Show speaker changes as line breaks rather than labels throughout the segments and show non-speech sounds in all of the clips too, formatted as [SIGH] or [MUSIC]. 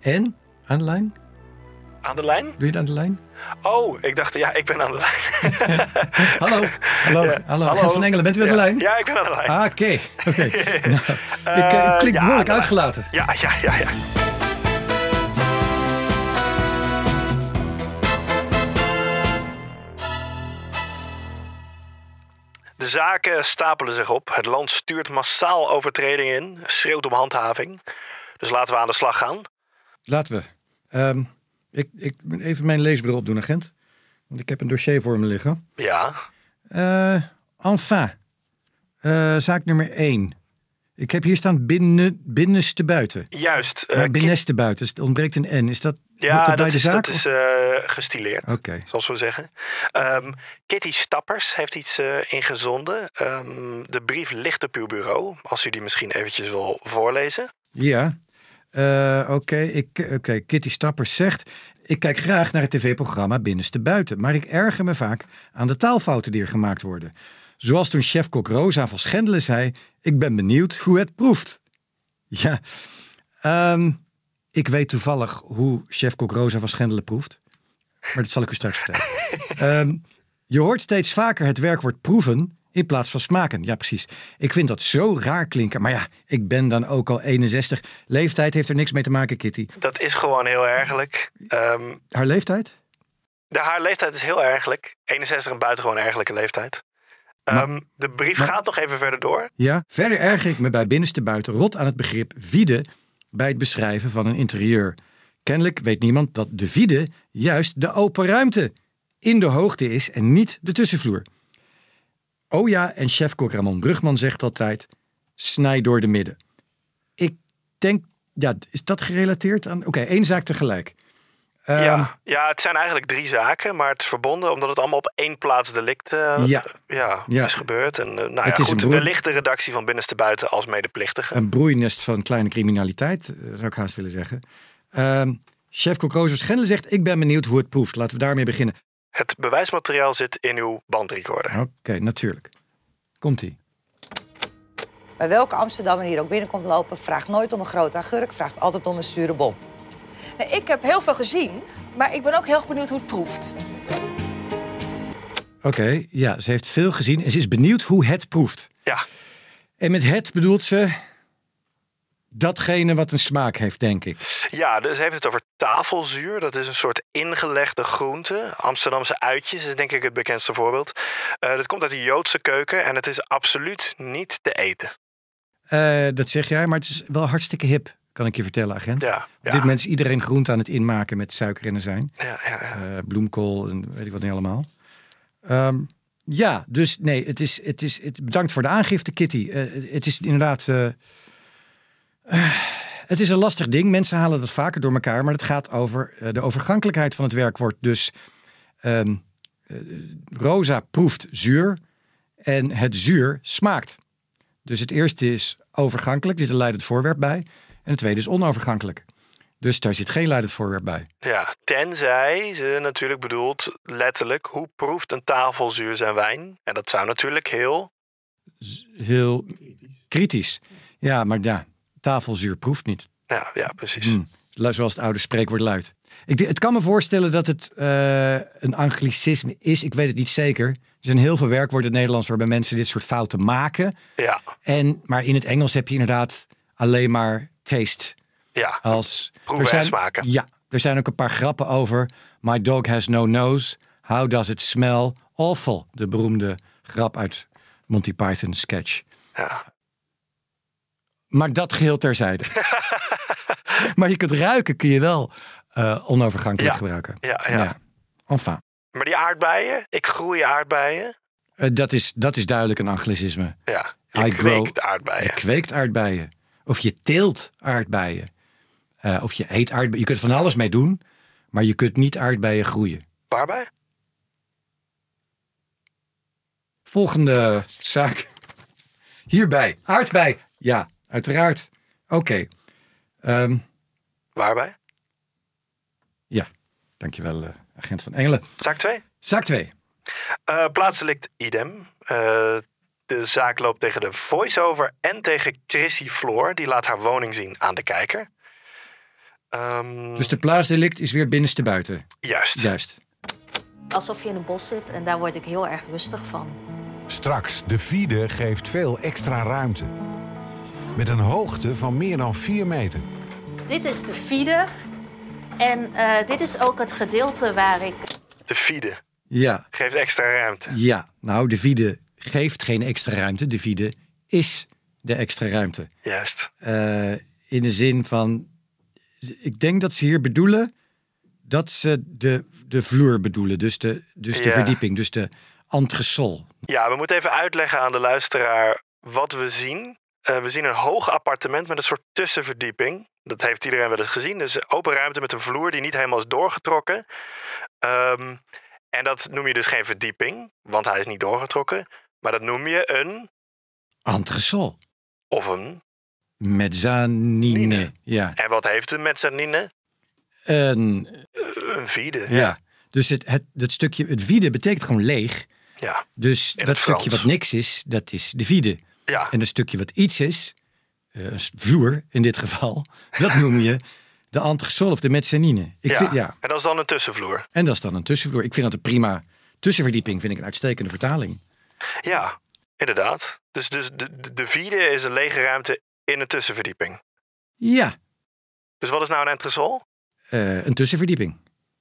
En? Aan de lijn?
Aan de lijn?
Doe je het aan de lijn?
Oh, ik dacht, ja, ik ben aan de lijn.
Hallo, hallo,
Ja,
hallo.
hallo.
Gert van Engelen, bent u aan de
Ja.
lijn?
Ja, ik ben aan de lijn.
Ah, oké.
[LAUGHS]
oké. Nou, ik, eh, ik klink
ja,
behoorlijk
maar-
uitgelaten.
Ja, ja, ja, ja. De zaken stapelen zich op. Het land stuurt massaal overtredingen in, schreeuwt om handhaving. Dus laten we aan de slag gaan.
Laten we. Ehm, ik, ik moet even mijn leesbril opdoen, agent. Want ik heb een dossier voor me liggen.
Ja,
Eh enfin. Eh, zaak nummer 1. Ik heb hier staan binnen, binnenste buiten.
juist. eh,
Maar
ki-
binneste buiten. Dus het ontbreekt een N. Is dat, hoort
ja,
dat
dat,
bij de
is,
zaak?
dat is
of-
eh, gestileerd.
Oké.
zoals we zeggen. Ehm, Kitty Stappers heeft iets eh, ingezonden. Ehm, de brief ligt op uw bureau, als u die misschien eventjes wil voorlezen.
Ja. Eh, Oké, ik- oké. Kitty Stappers zegt... Ik kijk graag naar het tv-programma Binnenste Buiten... maar ik erger me vaak aan de taalfouten die er gemaakt worden. Zoals toen chefkok Rosa van Schendelen zei... Ik ben benieuwd hoe het proeft. Ja. Ehm, ik weet toevallig hoe chefkok Rosa van Schendelen proeft. Maar dat zal ik u straks vertellen. Ehm, je hoort steeds vaker het werkwoord proeven in plaats van smaken. Ja, precies. Ik vind dat zo raar klinken. Maar ja, ik ben dan ook al 61. Leeftijd heeft er niks mee te maken, Kitty.
Dat is gewoon heel ergelijk. Ehm,
Haar leeftijd?
de, haar leeftijd is heel ergelijk. 61 een buitengewoon ergelijke leeftijd. Ehm, de brief
maar-
gaat nog even verder door.
Ja. Verder erger ik me bij binnenste buiten rot aan het begrip vide bij het beschrijven van een interieur. Kennelijk weet niemand dat de vide juist de open ruimte in de hoogte is en niet de tussenvloer. Oh ja, en chefkok Ramon Brugman zegt altijd: snij door de midden. Ik denk, ja, is dat gerelateerd aan. Oké, één zaak tegelijk. Ehm,
ja. ja, het zijn eigenlijk drie zaken, maar het is verbonden omdat het allemaal op één plaats delict eh,
Ja.
ja,
Ja.
is gebeurd. En eh, nou
Het is
ja, goed,
een Eh. broer-
wellicht de redactie van Binnenste Buiten als medeplichtige.
Een broeinest van kleine criminaliteit, eh, zou ik haast willen zeggen. Ehm chef Kokrozer Schendelen zegt: Ik ben benieuwd hoe het proeft. Laten we daarmee beginnen.
Het bewijsmateriaal zit in uw bandrecorder.
Oké, natuurlijk. Komt-ie.
Bij welke Amsterdammer hier ook binnenkomt lopen, vraagt nooit om een grote agurk, vraagt altijd om een zure bom.
Nee, ik heb heel veel gezien, maar ik ben ook heel erg benieuwd hoe het proeft.
Oké, ja, ze heeft veel gezien en ze is benieuwd hoe het proeft.
Ja,
En met het bedoelt ze datgene wat een smaak heeft, denk ik.
Ja, dus heeft het over tafelzuur. Dat is een soort ingelegde groente. Amsterdamse uitjes is denk ik het bekendste voorbeeld. Eh, dat komt uit de Joodse keuken en het is absoluut niet te eten.
Eh, dat zeg jij, maar het is wel hartstikke hip, kan ik je vertellen, agent.
Ja,
Op
ja,
dit moment is iedereen groente aan het inmaken met suiker en azijn.
ja, ja, ja.
eh, bloemkool en weet ik wat niet allemaal. Ehm, ja, dus nee, het is, het is, het, bedankt voor de aangifte, Kitty. Eh, het- het is inderdaad. eh, eh, het is een lastig ding. Mensen halen dat vaker door elkaar, maar het gaat over eh, de overgankelijkheid van het werkwoord. Dus ehm, eh, Rosa proeft zuur en het zuur smaakt. Dus het eerste is overgankelijk, dus dit is een leidend voorwerp bij. En het tweede is onovergankelijk. Dus daar zit geen leidend voorwerp bij.
ja. Tenzij ze natuurlijk bedoelt letterlijk hoe proeft een tafelzuur zijn wijn. En dat zou natuurlijk heel.
heel kritisch. Ja, maar ja, tafelzuur proeft niet.
Ja, ja precies.
Hm, lu- Zoals het oude spreekwoord luidt. Ik, d- het kan me voorstellen dat het eh, een anglicisme is. Ik weet het niet zeker. Er zijn heel veel werkwoorden in het Nederlands waarbij mensen dit soort fouten maken.
Ja,
En, maar in het Engels heb je inderdaad alleen maar taste.
ja.
Als,
Proeven en
zijn,
smaken.
Ja, er zijn ook een paar grappen over. My dog has no nose. How does it smell? Awful. De beroemde grap uit Monty Python sketch.
ja.
Maar dat geheel
[LAUGHS]
terzijde. maar je kunt ruiken, kun je wel eh, onovergankelijk
Ja,
gebruiken.
ja, ja.
Enfin,
Maar die aardbeien, ik groei aardbeien.
Eh, dat, is, dat is duidelijk een anglicisme.
Ja,
I
Ah, ik
grow-
kweekt aardbeien.
Je kweekt aardbeien. Of je teelt aardbeien. Eh, of je eet aardbeien. Je kunt er van alles mee doen, maar je kunt niet aardbeien groeien.
Waarbij?
Volgende zaak. Hierbij. Aardbei. Ja, uiteraard. Oké. Ehm,
Waarbij?
ja, dankjewel, eh, agent van Engelen.
Zaak 2.
Zaak 2.
Eh plaatselijk idem. Eh, de zaak loopt tegen de voice-over en tegen Chrissy Floor. Die laat haar woning zien aan de kijker. Ehm,
Dus de plaatsdelict is weer binnenste buiten.
Juist.
Juist.
Alsof je in een bos zit en daar word ik heel erg rustig van.
Straks, de Fiede geeft veel extra ruimte. Met een hoogte van meer dan 4 meter.
Dit is de feeder. En eh, dit is ook het gedeelte waar ik
De fide
Ja,
geeft extra ruimte.
ja. Nou, de vide geeft geen extra ruimte. De vide is de extra ruimte.
Juist.
Eh, in de zin van, ik denk dat ze hier bedoelen dat ze de, de vloer bedoelen. Dus de, dus de
Ja.
verdieping, dus de entresol.
Ja, we moeten even uitleggen aan de luisteraar wat we zien. Eh, we zien een hoog appartement met een soort tussenverdieping. Dat heeft iedereen wel eens gezien. Dus open ruimte met een vloer die niet helemaal is doorgetrokken. Ehm, en dat noem je dus geen verdieping, want hij is niet doorgetrokken. Maar dat noem je een
Entresol.
of een.
Mezzanine.
Nine.
Ja.
En wat heeft een mezzanine?
Een,
Eh, Een vide.
ja. Dus het, het, dat stukje, het vide betekent gewoon leeg.
Ja.
Dus
In
dat
het
stukje
Frans.
wat niks is, dat is de vide.
ja.
En het stukje wat iets is, eh, een s- vloer in dit geval, [LAUGHS] dat noem je de entresol of de mezzanine. Ik
ja.
Vind, ja.
En dat is dan een tussenvloer.
En dat is dan een tussenvloer. Ik vind dat een prima tussenverdieping, vind ik een uitstekende vertaling.
Ja, inderdaad. Dus, dus de, de- de vierde is een lege ruimte in een tussenverdieping.
Ja,
Dus wat is nou een entresol?
eh, een tussenverdieping.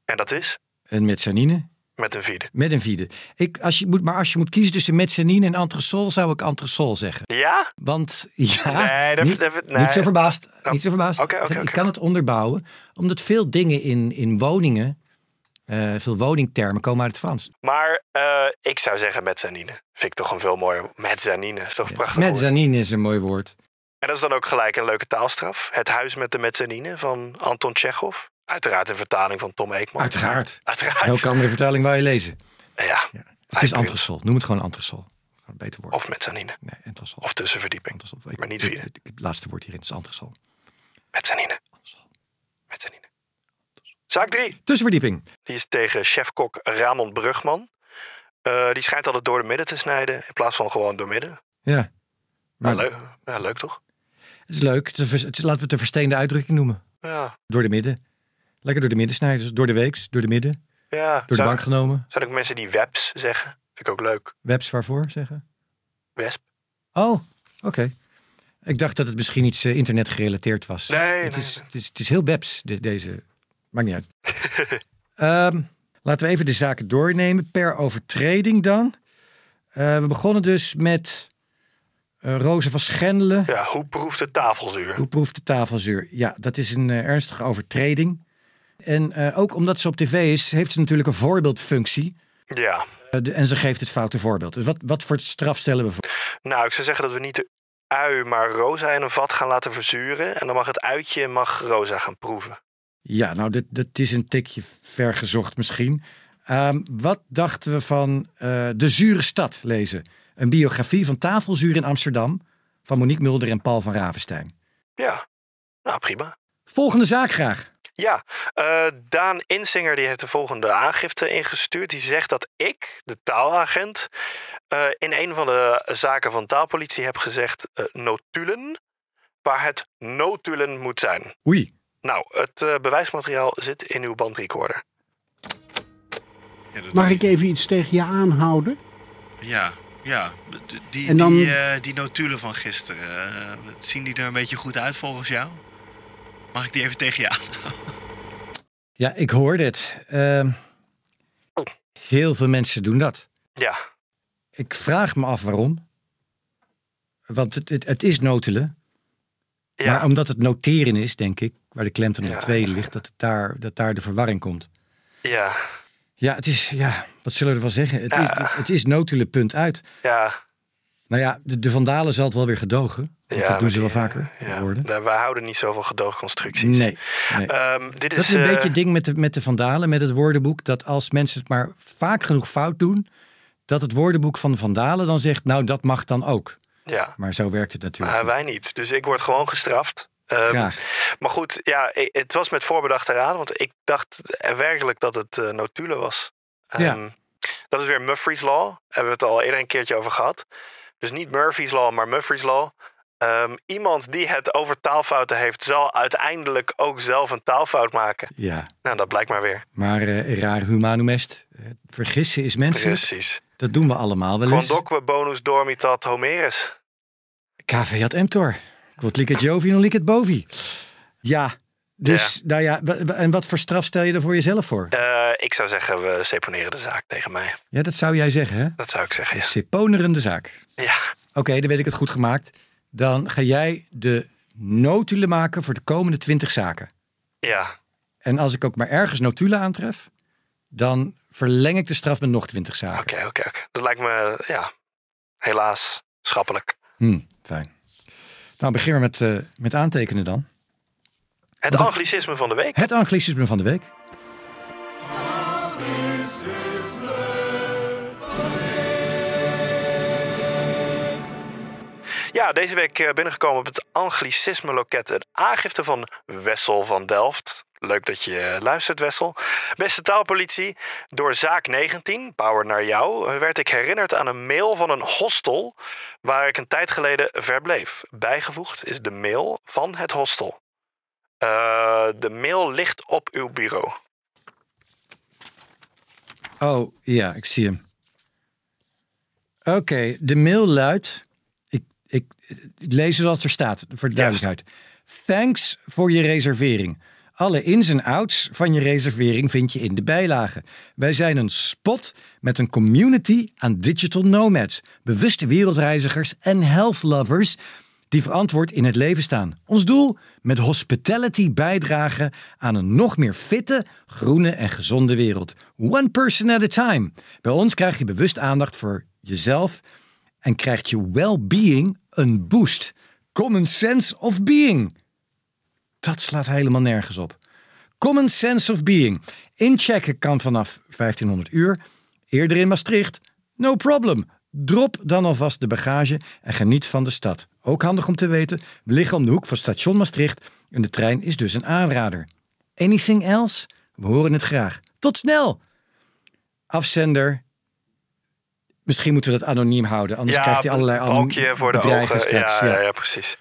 En dat is
Een mezzanine
met een vierde.
met een vide. Ik, als je moet, maar als je moet kiezen tussen mezzanine en entresol, zou ik entresol zeggen.
Ja?
Want [LAUGHS] ja,
Nee, dat-
Ah, niet,
dat- nee.
niet zo verbaasd.
Oh,
Niet zo verbaasd.
oké, oké,
ik
oké.
kan het onderbouwen, omdat veel dingen in, in woningen, eh, veel woningtermen komen uit het Frans.
Maar eh, ik zou zeggen mezzanine. Vind ik toch een veel mooier. Mezzanine is toch een prachtig woord.
Mezzanine is een mooi woord.
En dat is dan ook gelijk een leuke taalstraf. Het huis met de mezzanine van Anton Tjechov. Uiteraard een vertaling van Tom Eekman.
Uiteraard.
Uiteraard.
Welke andere vertaling wou je lezen?
Ja.
Het is
Uitpunt.
antresol. Noem het gewoon antresol. Gewoon een beter woord.
Of mezzanine.
Nee, antresol.
Of tussenverdieping.
Antresol. Ik-
maar niet
ik-
vieren.
ik- Het laatste woord hierin is antresol.
Mezzanine. Mezzanine. Zaak 3.
Tussenverdieping.
Die is tegen chefkok Ramon Brugman. Eh, die schijnt altijd door de midden te snijden in plaats van gewoon door midden.
Ja.
Ja,
Maar
Nou, leuk. Ja, leuk toch?
Het is leuk. Het is een vers- het is- laten we het een versteende uitdrukking noemen.
Ja.
Door de midden. Lekker door de midden snijden. Dus door de weeks, door de midden.
ja.
Door de
Zijn-
bank genomen.
Zijn ook mensen die webs zeggen? Vind ik ook leuk.
Webs waarvoor zeggen?
Wesp.
Oh, oké. Ik dacht dat het misschien iets eh, internetgerelateerd was.
Nee,
het,
nee,
is,
nee.
Het, is, het is heel webs, de- deze. Maakt niet uit.
[LAUGHS]
Ehm, laten we even de zaken doornemen. Per overtreding dan. Eh, we begonnen dus met eh Rozen van Schendelen.
Ja, hoe proeft het tafelzuur?
Hoe proeft de tafelzuur? Ja, dat is een eh, ernstige overtreding. En eh, ook omdat ze op tv is, heeft ze natuurlijk een voorbeeldfunctie.
Ja.
Eh, de- en ze geeft het foute voorbeeld. Dus wat, wat voor straf stellen we voor?
Nou, ik zou zeggen dat we niet de ui, maar rosa in een vat gaan laten verzuren. En dan mag het uitje mag rosa gaan proeven.
Ja, nou, dit, dit is een tikje vergezocht misschien. Ehm, wat dachten we van eh, De Zure Stad lezen? Een biografie van tafelzuur in Amsterdam van Monique Mulder en Paul van Ravenstein.
Ja. Nou, prima.
Volgende zaak graag.
Ja, eh, Daan Insinger die heeft de volgende aangifte ingestuurd. Die zegt dat ik, de taalagent, eh, in een van de zaken van taalpolitie heb gezegd eh, notulen, waar het notulen moet zijn.
Oei,
Nou, het eh, bewijsmateriaal zit in uw bandrecorder.
Mag ik even iets tegen je aanhouden?
Ja, ja. D- Die,
En dan-
die, eh, die notulen van gisteren, eh, zien die er een beetje goed uit volgens jou? Mag ik die even tegen je aanhouden?
ja, ik hoorde het. Ehm, heel veel mensen doen dat.
Ja,
Ik vraag me af waarom. Want het, het, het is notelen.
ja.
Maar omdat het noteren is, denk ik, waar de klemtoon op
Ja.
de tweede ligt, dat, het daar, dat daar de verwarring komt.
ja,
Ja, het is, ja, wat zullen we ervan zeggen? Het,
Ja.
is, het, het is notelen, punt uit.
ja.
Nou ja, de, de vandalen zal het wel weer gedogen. Want dat
Ja,
doen
maar
ze wel
die,
vaker,
ja.
worden.
Nou, wij houden niet zoveel gedoogconstructies.
Nee, nee.
Ehm, dit is,
dat is een
eh,
beetje het ding met de, met de vandalen, met het woordenboek. Dat als mensen het maar vaak genoeg fout doen, dat het woordenboek van de vandalen dan zegt, nou dat mag dan ook.
Ja,
Maar zo werkt het natuurlijk.
maar wij niet. Dus ik word gewoon gestraft. Ehm,
Graag.
Maar goed, ja, i- het was met voorbedachte raden, want ik dacht eh, werkelijk dat het eh notulen was.
Ja.
Ehm, Dat is weer Murphy's Law. Hebben we het al eerder een keertje over gehad. Dus niet Murphy's Law, maar Murphy's Law. Ehm, iemand die het over taalfouten heeft, zal uiteindelijk ook zelf een taalfout maken.
Ja,
Nou, dat blijkt maar weer.
maar eh raar humanum est. Eh, Vergissen is menselijk.
Precies.
Dat doen we allemaal wel eens.
Condocque bonus dormitat Homerus.
KV had emptor. Quod licet Jovi, non licet Bovi. Ja, dus nou ja, wa- wa- en wat voor straf stel je er voor jezelf voor? Ja,
Eh, ik zou zeggen, we seponeren de zaak tegen mij.
dat zou jij zeggen, hè?
Dat zou ik zeggen,
Een
ja.
seponerende zaak.
ja.
Oké, dan weet ik het goed gemaakt. Dan ga jij de notulen maken voor de komende twintig zaken.
Ja,
En als ik ook maar ergens notulen aantref, dan verleng ik de straf met nog twintig zaken.
oké, oké. oké. Dat lijkt me, ja, helaas schappelijk.
Hm, fijn. Nou, beginnen we met, eh, met aantekenen dan.
Het anglicisme van de week.
Het anglicisme van de week.
Ja, deze week eh, binnengekomen op het anglicisme-loket. Een aangifte van Wessel van Delft. Leuk dat je eh, luistert, Wessel. Beste taalpolitie, door zaak 19, Power naar jou, werd ik herinnerd aan een mail van een hostel waar ik een tijd geleden verbleef. Bijgevoegd is de mail van het hostel. Eh, de mail ligt op uw bureau.
Oh, ja, ik zie hem. Oké, de mail luidt... Ik, ik, ik lees het zoals het er staat, voor de duidelijkheid. Thanks voor je reservering. Alle ins en outs van je reservering vind je in de bijlage. Wij zijn een spot met een community aan digital nomads, bewuste wereldreizigers en health lovers die verantwoord in het leven staan. Ons doel? Met hospitality bijdragen aan een nog meer fitte, groene en gezonde wereld. One person at a time. Bij ons krijg je bewust aandacht voor jezelf en krijgt je well-being een boost. Common sense of being. Dat slaat helemaal nergens op. Common sense of being. Inchecken kan vanaf 1500 uur. Eerder in Maastricht. No problem. Drop dan alvast de bagage en geniet van de stad. Ook handig om te weten, we liggen om de hoek van station Maastricht en de trein is dus een aanrader. Anything else? We horen het graag. Tot snel! Afzender. Misschien moeten we dat anoniem houden, anders Dus krijgt hij allerlei an-
balkje voor de
bedreigen
ogen. Ja,
straks.
ja.
ja.
ja, precies.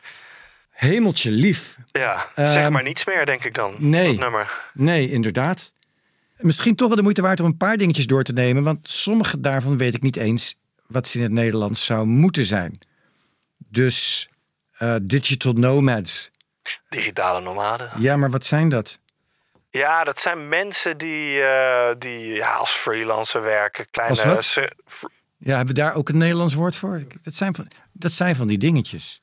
Hemeltje lief.
Ja, zeg
Ehm,
maar niets meer, denk ik dan.
nee.
Dat nummer.
Nee, inderdaad. Misschien toch wel de moeite waard om een paar dingetjes door te nemen, want sommige daarvan weet ik niet eens wat ze in het Nederlands zou moeten zijn. Dus eh, digital nomads.
Digitale nomaden.
Ja, maar wat zijn dat?
Ja, dat zijn mensen die, eh, die ja, als freelancer werken. Kleine,
Als wat?
se- fr-
Ja, hebben we daar ook een Nederlands woord voor? Dat zijn van, dat zijn van die dingetjes.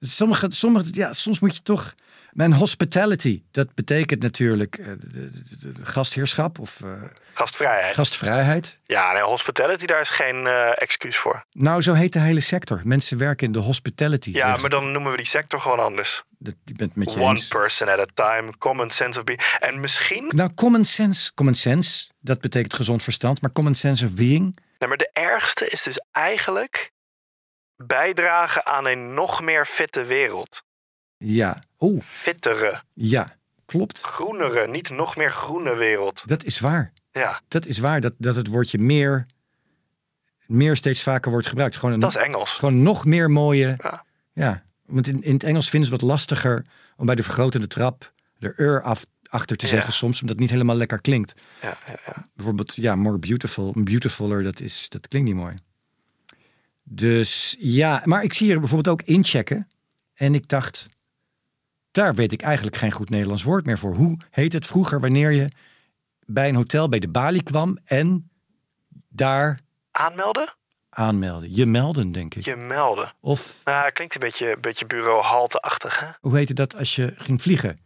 Sommige, sommige, ja, soms moet je toch. Mijn hospitality, dat betekent natuurlijk eh, de- de- de- de gastheerschap of eh,
gastvrijheid.
gastvrijheid.
Ja, nee, hospitality, daar is geen eh, excuus voor.
Nou, zo heet de hele sector. Mensen werken in de hospitality.
Ja,
zegt-
maar dan noemen we die sector gewoon anders.
Dat, ik ben het met je
One
eens.
person at a time, common sense of being. En misschien,
Nou, common sense. Common sense, dat betekent gezond verstand. Maar common sense of being.
nee, maar de ergste is dus eigenlijk bijdragen aan een nog meer fitte wereld.
Ja. Oeh,
Fittere,
ja. Klopt.
groenere, niet nog meer groene wereld.
Dat is waar.
Ja,
Dat is waar. Dat, dat het woordje meer, meer steeds vaker wordt gebruikt. Gewoon, een,
dat is Engels.
gewoon nog meer mooie.
Ja.
Ja. Want in, in het Engels vinden ze het wat lastiger om bij de vergrotende trap de er af, achter te
Ja.
zeggen. Soms omdat het niet helemaal lekker klinkt.
Ja, ja, ja.
bijvoorbeeld, ja, more beautiful, beautifuler, dat, is, dat klinkt niet mooi. Dus ja, maar ik zie hier bijvoorbeeld ook inchecken. En ik dacht, daar weet ik eigenlijk geen goed Nederlands woord meer voor. Hoe heet het vroeger wanneer je bij een hotel bij de balie kwam en daar
Aanmelden?
aanmeldde? Je melden, denk ik.
Je melden.
Of
Nou, klinkt een beetje, beetje bureau halteachtig, hè?
hoe heette dat als je ging vliegen?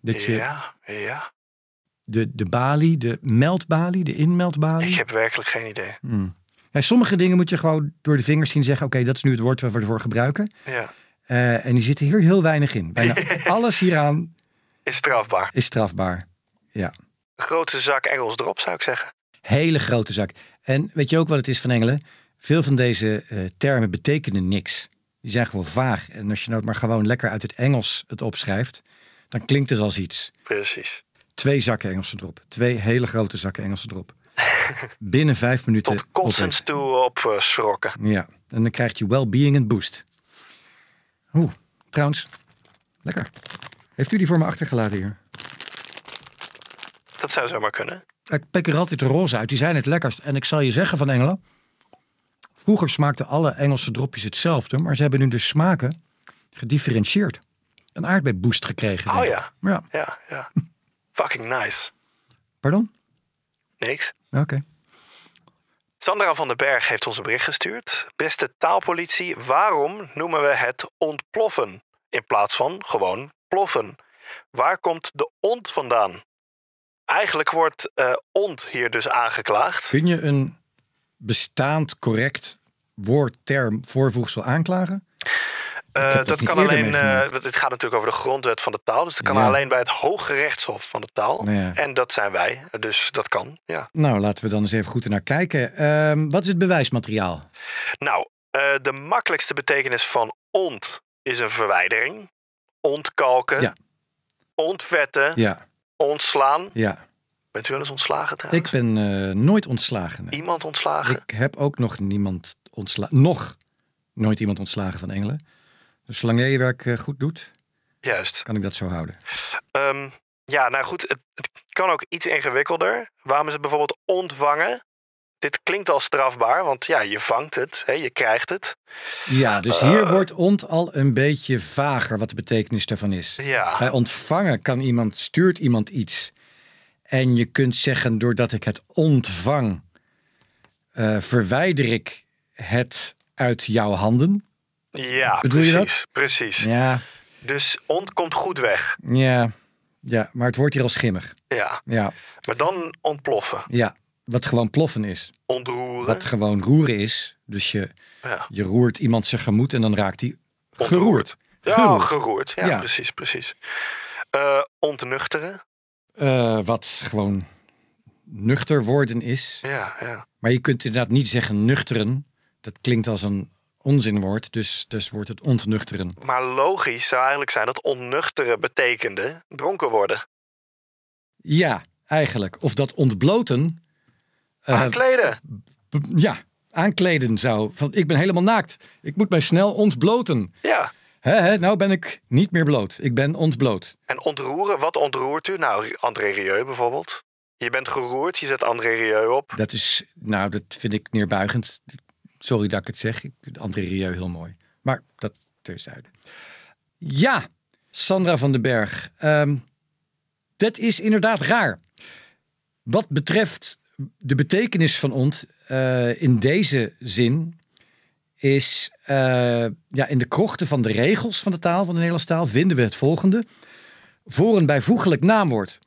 Dat je
Ja, ja.
de, de balie, de meldbalie, de inmeldbalie.
Ik heb werkelijk geen idee.
Ja, sommige dingen moet je gewoon door de vingers zien zeggen: oké, dat is nu het woord waar we ervoor gebruiken.
Ja.
Eh, en die zitten hier heel weinig in. Bijna
[LAUGHS]
alles hieraan
Is strafbaar.
is strafbaar. Ja,
Grote zak Engels erop, zou ik zeggen.
hele grote zak. En weet je ook wat het is van Engelen? Veel van deze eh, termen betekenen niks. Die zijn gewoon vaag. En als je nou maar gewoon lekker uit het Engels het opschrijft, dan klinkt het als iets.
Precies.
Twee zakken Engelsen erop. Twee hele grote zakken Engelsen
[LAUGHS]
erop. Binnen vijf minuten.
Tot consens
opeten.
toe op eh, schrokken.
Ja, en dan krijgt je well-being een boost. Oeh, trouwens. Lekker. Heeft u die voor me achtergelaten hier?
Dat zou zomaar kunnen.
Ik pik er altijd de roze uit. Die zijn het lekkerst. En ik zal je zeggen van Engelen. Vroeger smaakten alle Engelse dropjes hetzelfde. Maar ze hebben nu de smaken gedifferentieerd. Een aardbeienboost gekregen.
Oh
denk ik.
ja.
Ja,
Ja, ja. Fucking nice.
pardon?
Niks.
Oké.
Sandra van den Berg heeft ons een bericht gestuurd. Beste taalpolitie, waarom noemen we het ontploffen in plaats van gewoon ploffen? Waar komt de ont vandaan? Eigenlijk wordt eh, ont hier dus aangeklaagd.
Kun je een bestaand correct woord, term, voorvoegsel aanklagen?
Eh,
heb dat
dat
niet
kan
eerder
alleen. eh,
meegemaakt.
want het gaat natuurlijk over de grondwet van de taal. Dus dat kan
Ja.
alleen bij het Hoge Rechtshof van de taal.
Nou ja.
En dat zijn wij. Dus dat kan. Ja.
Nou, laten we dan eens even goed naar kijken. Ehm, wat is het bewijsmateriaal?
Nou, eh, de makkelijkste betekenis van ont is een verwijdering. Ontkalken.
Ja.
Ontwetten.
Ja,
Ontslaan.
ja.
Bent u wel eens ontslagen trouwens?
Ik ben eh, nooit ontslagen. nee.
Iemand ontslagen?
Ik heb ook nog niemand ontslagen. Nog nooit iemand ontslagen van Engelen. Dus zolang jij je werk eh, goed doet,
Juist.
kan ik dat zo houden.
Ehm, ja, nou goed, het, het kan ook iets ingewikkelder. Waarom is het bijvoorbeeld ontvangen? Dit klinkt al strafbaar, want ja, je vangt het, hè, je krijgt het.
Ja, dus hier wordt ont al een beetje vager wat de betekenis daarvan is. Bij
Ja,
ontvangen kan iemand, stuurt iemand iets. En je kunt zeggen, doordat ik het ontvang, eh, verwijder ik het uit jouw handen.
ja
Bedoel je
precies.
dat?
precies.
Ja,
Dus ont komt goed weg.
ja, ja, maar het wordt hier al schimmig.
Ja,
Ja,
maar dan ontploffen,
ja, wat gewoon ploffen is.
ontroeren.
Wat gewoon roeren is. Dus je,
Ja.
je roert iemand zijn gemoed en dan raakt hij geroerd.
Ja, geroerd. Ja,
Ja.
precies, precies. Eh, ontnuchteren.
Eh, wat gewoon nuchter worden is.
Ja, ja.
Maar je kunt inderdaad niet zeggen nuchteren. Dat klinkt als een onzinwoord, dus, dus wordt het ontnuchteren.
Maar logisch zou eigenlijk zijn dat onnuchteren betekende dronken worden.
Ja, eigenlijk. Of dat ontbloten. eh,
Aankleden.
b- ja, aankleden zou. Van, ik ben helemaal naakt. Ik moet mij snel ontbloten.
Ja.
Hè, hè, nou ben ik niet meer bloot. Ik ben ontbloot.
En ontroeren, wat ontroert u? Nou, André Rieu bijvoorbeeld. Je bent geroerd, je zet André Rieu op.
Dat is, nou, dat vind ik neerbuigend. Sorry dat ik het zeg. Ik vind André Rieu heel mooi. Maar dat terzijde. Ja, Sandra van den Berg. Ehm, dat is inderdaad raar. Wat betreft de betekenis van ont eh, in deze zin is eh, ja, in de krochten van de regels van de taal, van de Nederlandse taal, vinden we het volgende. Voor een bijvoeglijk naamwoord,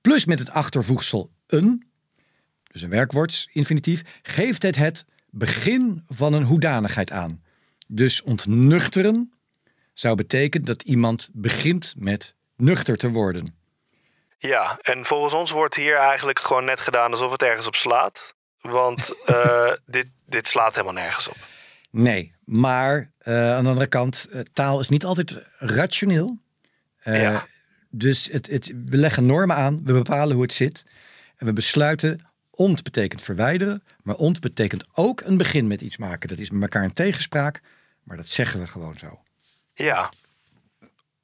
plus met het achtervoegsel een, dus een werkwoordsinfinitief, geeft het het begin van een hoedanigheid aan. Dus ontnuchteren zou betekenen dat iemand begint met nuchter te worden.
Ja, en volgens ons wordt hier eigenlijk gewoon net gedaan alsof het ergens op slaat. Want
[LAUGHS]
eh, dit, dit slaat helemaal nergens op.
Nee, maar eh, aan de andere kant, eh, taal is niet altijd rationeel. Eh,
Ja.
Dus het, het, we leggen normen aan, we bepalen hoe het zit. En we besluiten, ont betekent verwijderen, maar ont betekent ook een begin met iets maken. Dat is met elkaar een tegenspraak, maar dat zeggen we gewoon zo.
Ja.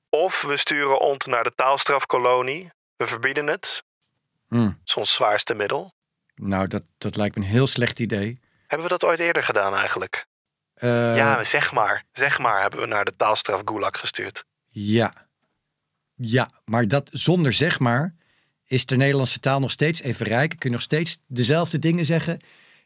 Of we sturen ont naar de taalstrafkolonie. We verbieden het.
Hmm.
Dat is ons zwaarste middel.
Nou, dat, dat lijkt me een heel slecht idee.
Hebben we dat ooit eerder gedaan eigenlijk?
Eh,
ja, zeg maar. Zeg maar hebben we naar de taalstraf gulag gestuurd.
ja. Ja, maar dat zonder zeg maar is de Nederlandse taal nog steeds even rijk. Kun je nog steeds dezelfde dingen zeggen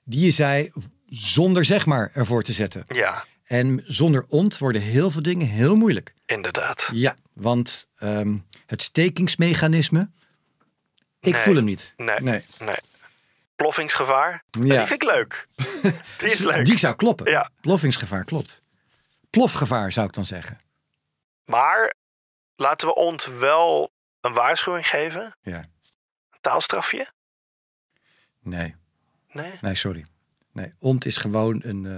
die je zei zonder zeg maar ervoor te zetten.
Ja,
En zonder ont worden heel veel dingen heel moeilijk.
inderdaad.
Ja, want ehm, het stekingsmechanisme, ik
Nee.
voel hem niet.
Nee. Nee. Ploffingsgevaar.
Ja.
Die vind ik
[LAUGHS]
leuk. Die is leuk.
Die zou kloppen.
Ja.
Ploffingsgevaar klopt. Plofgevaar zou ik dan zeggen.
Maar laten we ont wel een waarschuwing geven.
Ja.
Een taalstrafje.
Nee.
Nee.
Nee, sorry. Nee, ont is gewoon een, eh,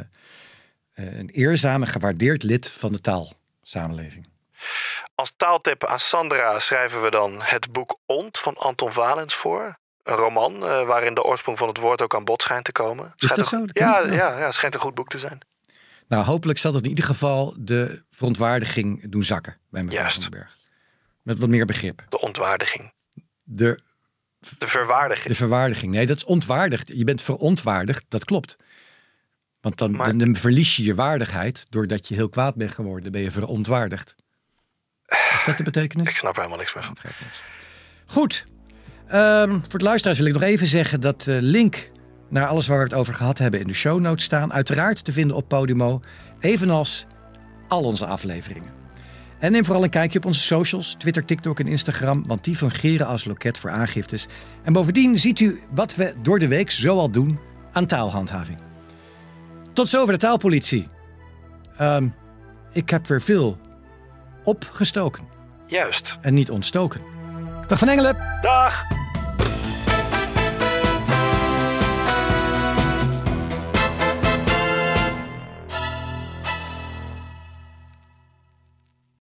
eh, een eerzaam en gewaardeerd lid van de taalsamenleving.
Als taaltip aan Sandra schrijven we dan het boek Ont van Anton Valens voor. Een roman eh, waarin de oorsprong van het woord ook aan bod schijnt te komen.
Is
Schijnt
dat
een-
zo? Dat ken
Ja,
ik niet.
ja, ja, schijnt een goed boek te zijn.
Nou, hopelijk zal dat in ieder geval de verontwaardiging doen zakken bij mevrouw
Juist.
van den Berg. Met wat meer begrip.
De ontwaardiging.
De,
De verwaardiging.
de verwaardiging. Nee, dat is ontwaardigd. Je bent verontwaardigd, dat klopt. Want dan,
Maar-
dan, dan verlies je je waardigheid doordat je heel kwaad bent geworden. Ben je verontwaardigd. Is dat de betekenis?
Ik snap er helemaal niks meer van.
Geeft niks. Goed. Ehm, voor de luisteraars wil ik nog even zeggen dat de link naar alles waar we het over gehad hebben in de show notes staan. Uiteraard te vinden op Podimo, evenals al onze afleveringen. En neem vooral een kijkje op onze socials, Twitter, TikTok en Instagram, want die fungeren als loket voor aangiftes. En bovendien ziet u wat we door de week zoal doen aan taalhandhaving. Tot zover de taalpolitie. Ehm, ik heb weer veel opgestoken
Juist.
en niet ontstoken. Dag van Engelen!
Dag!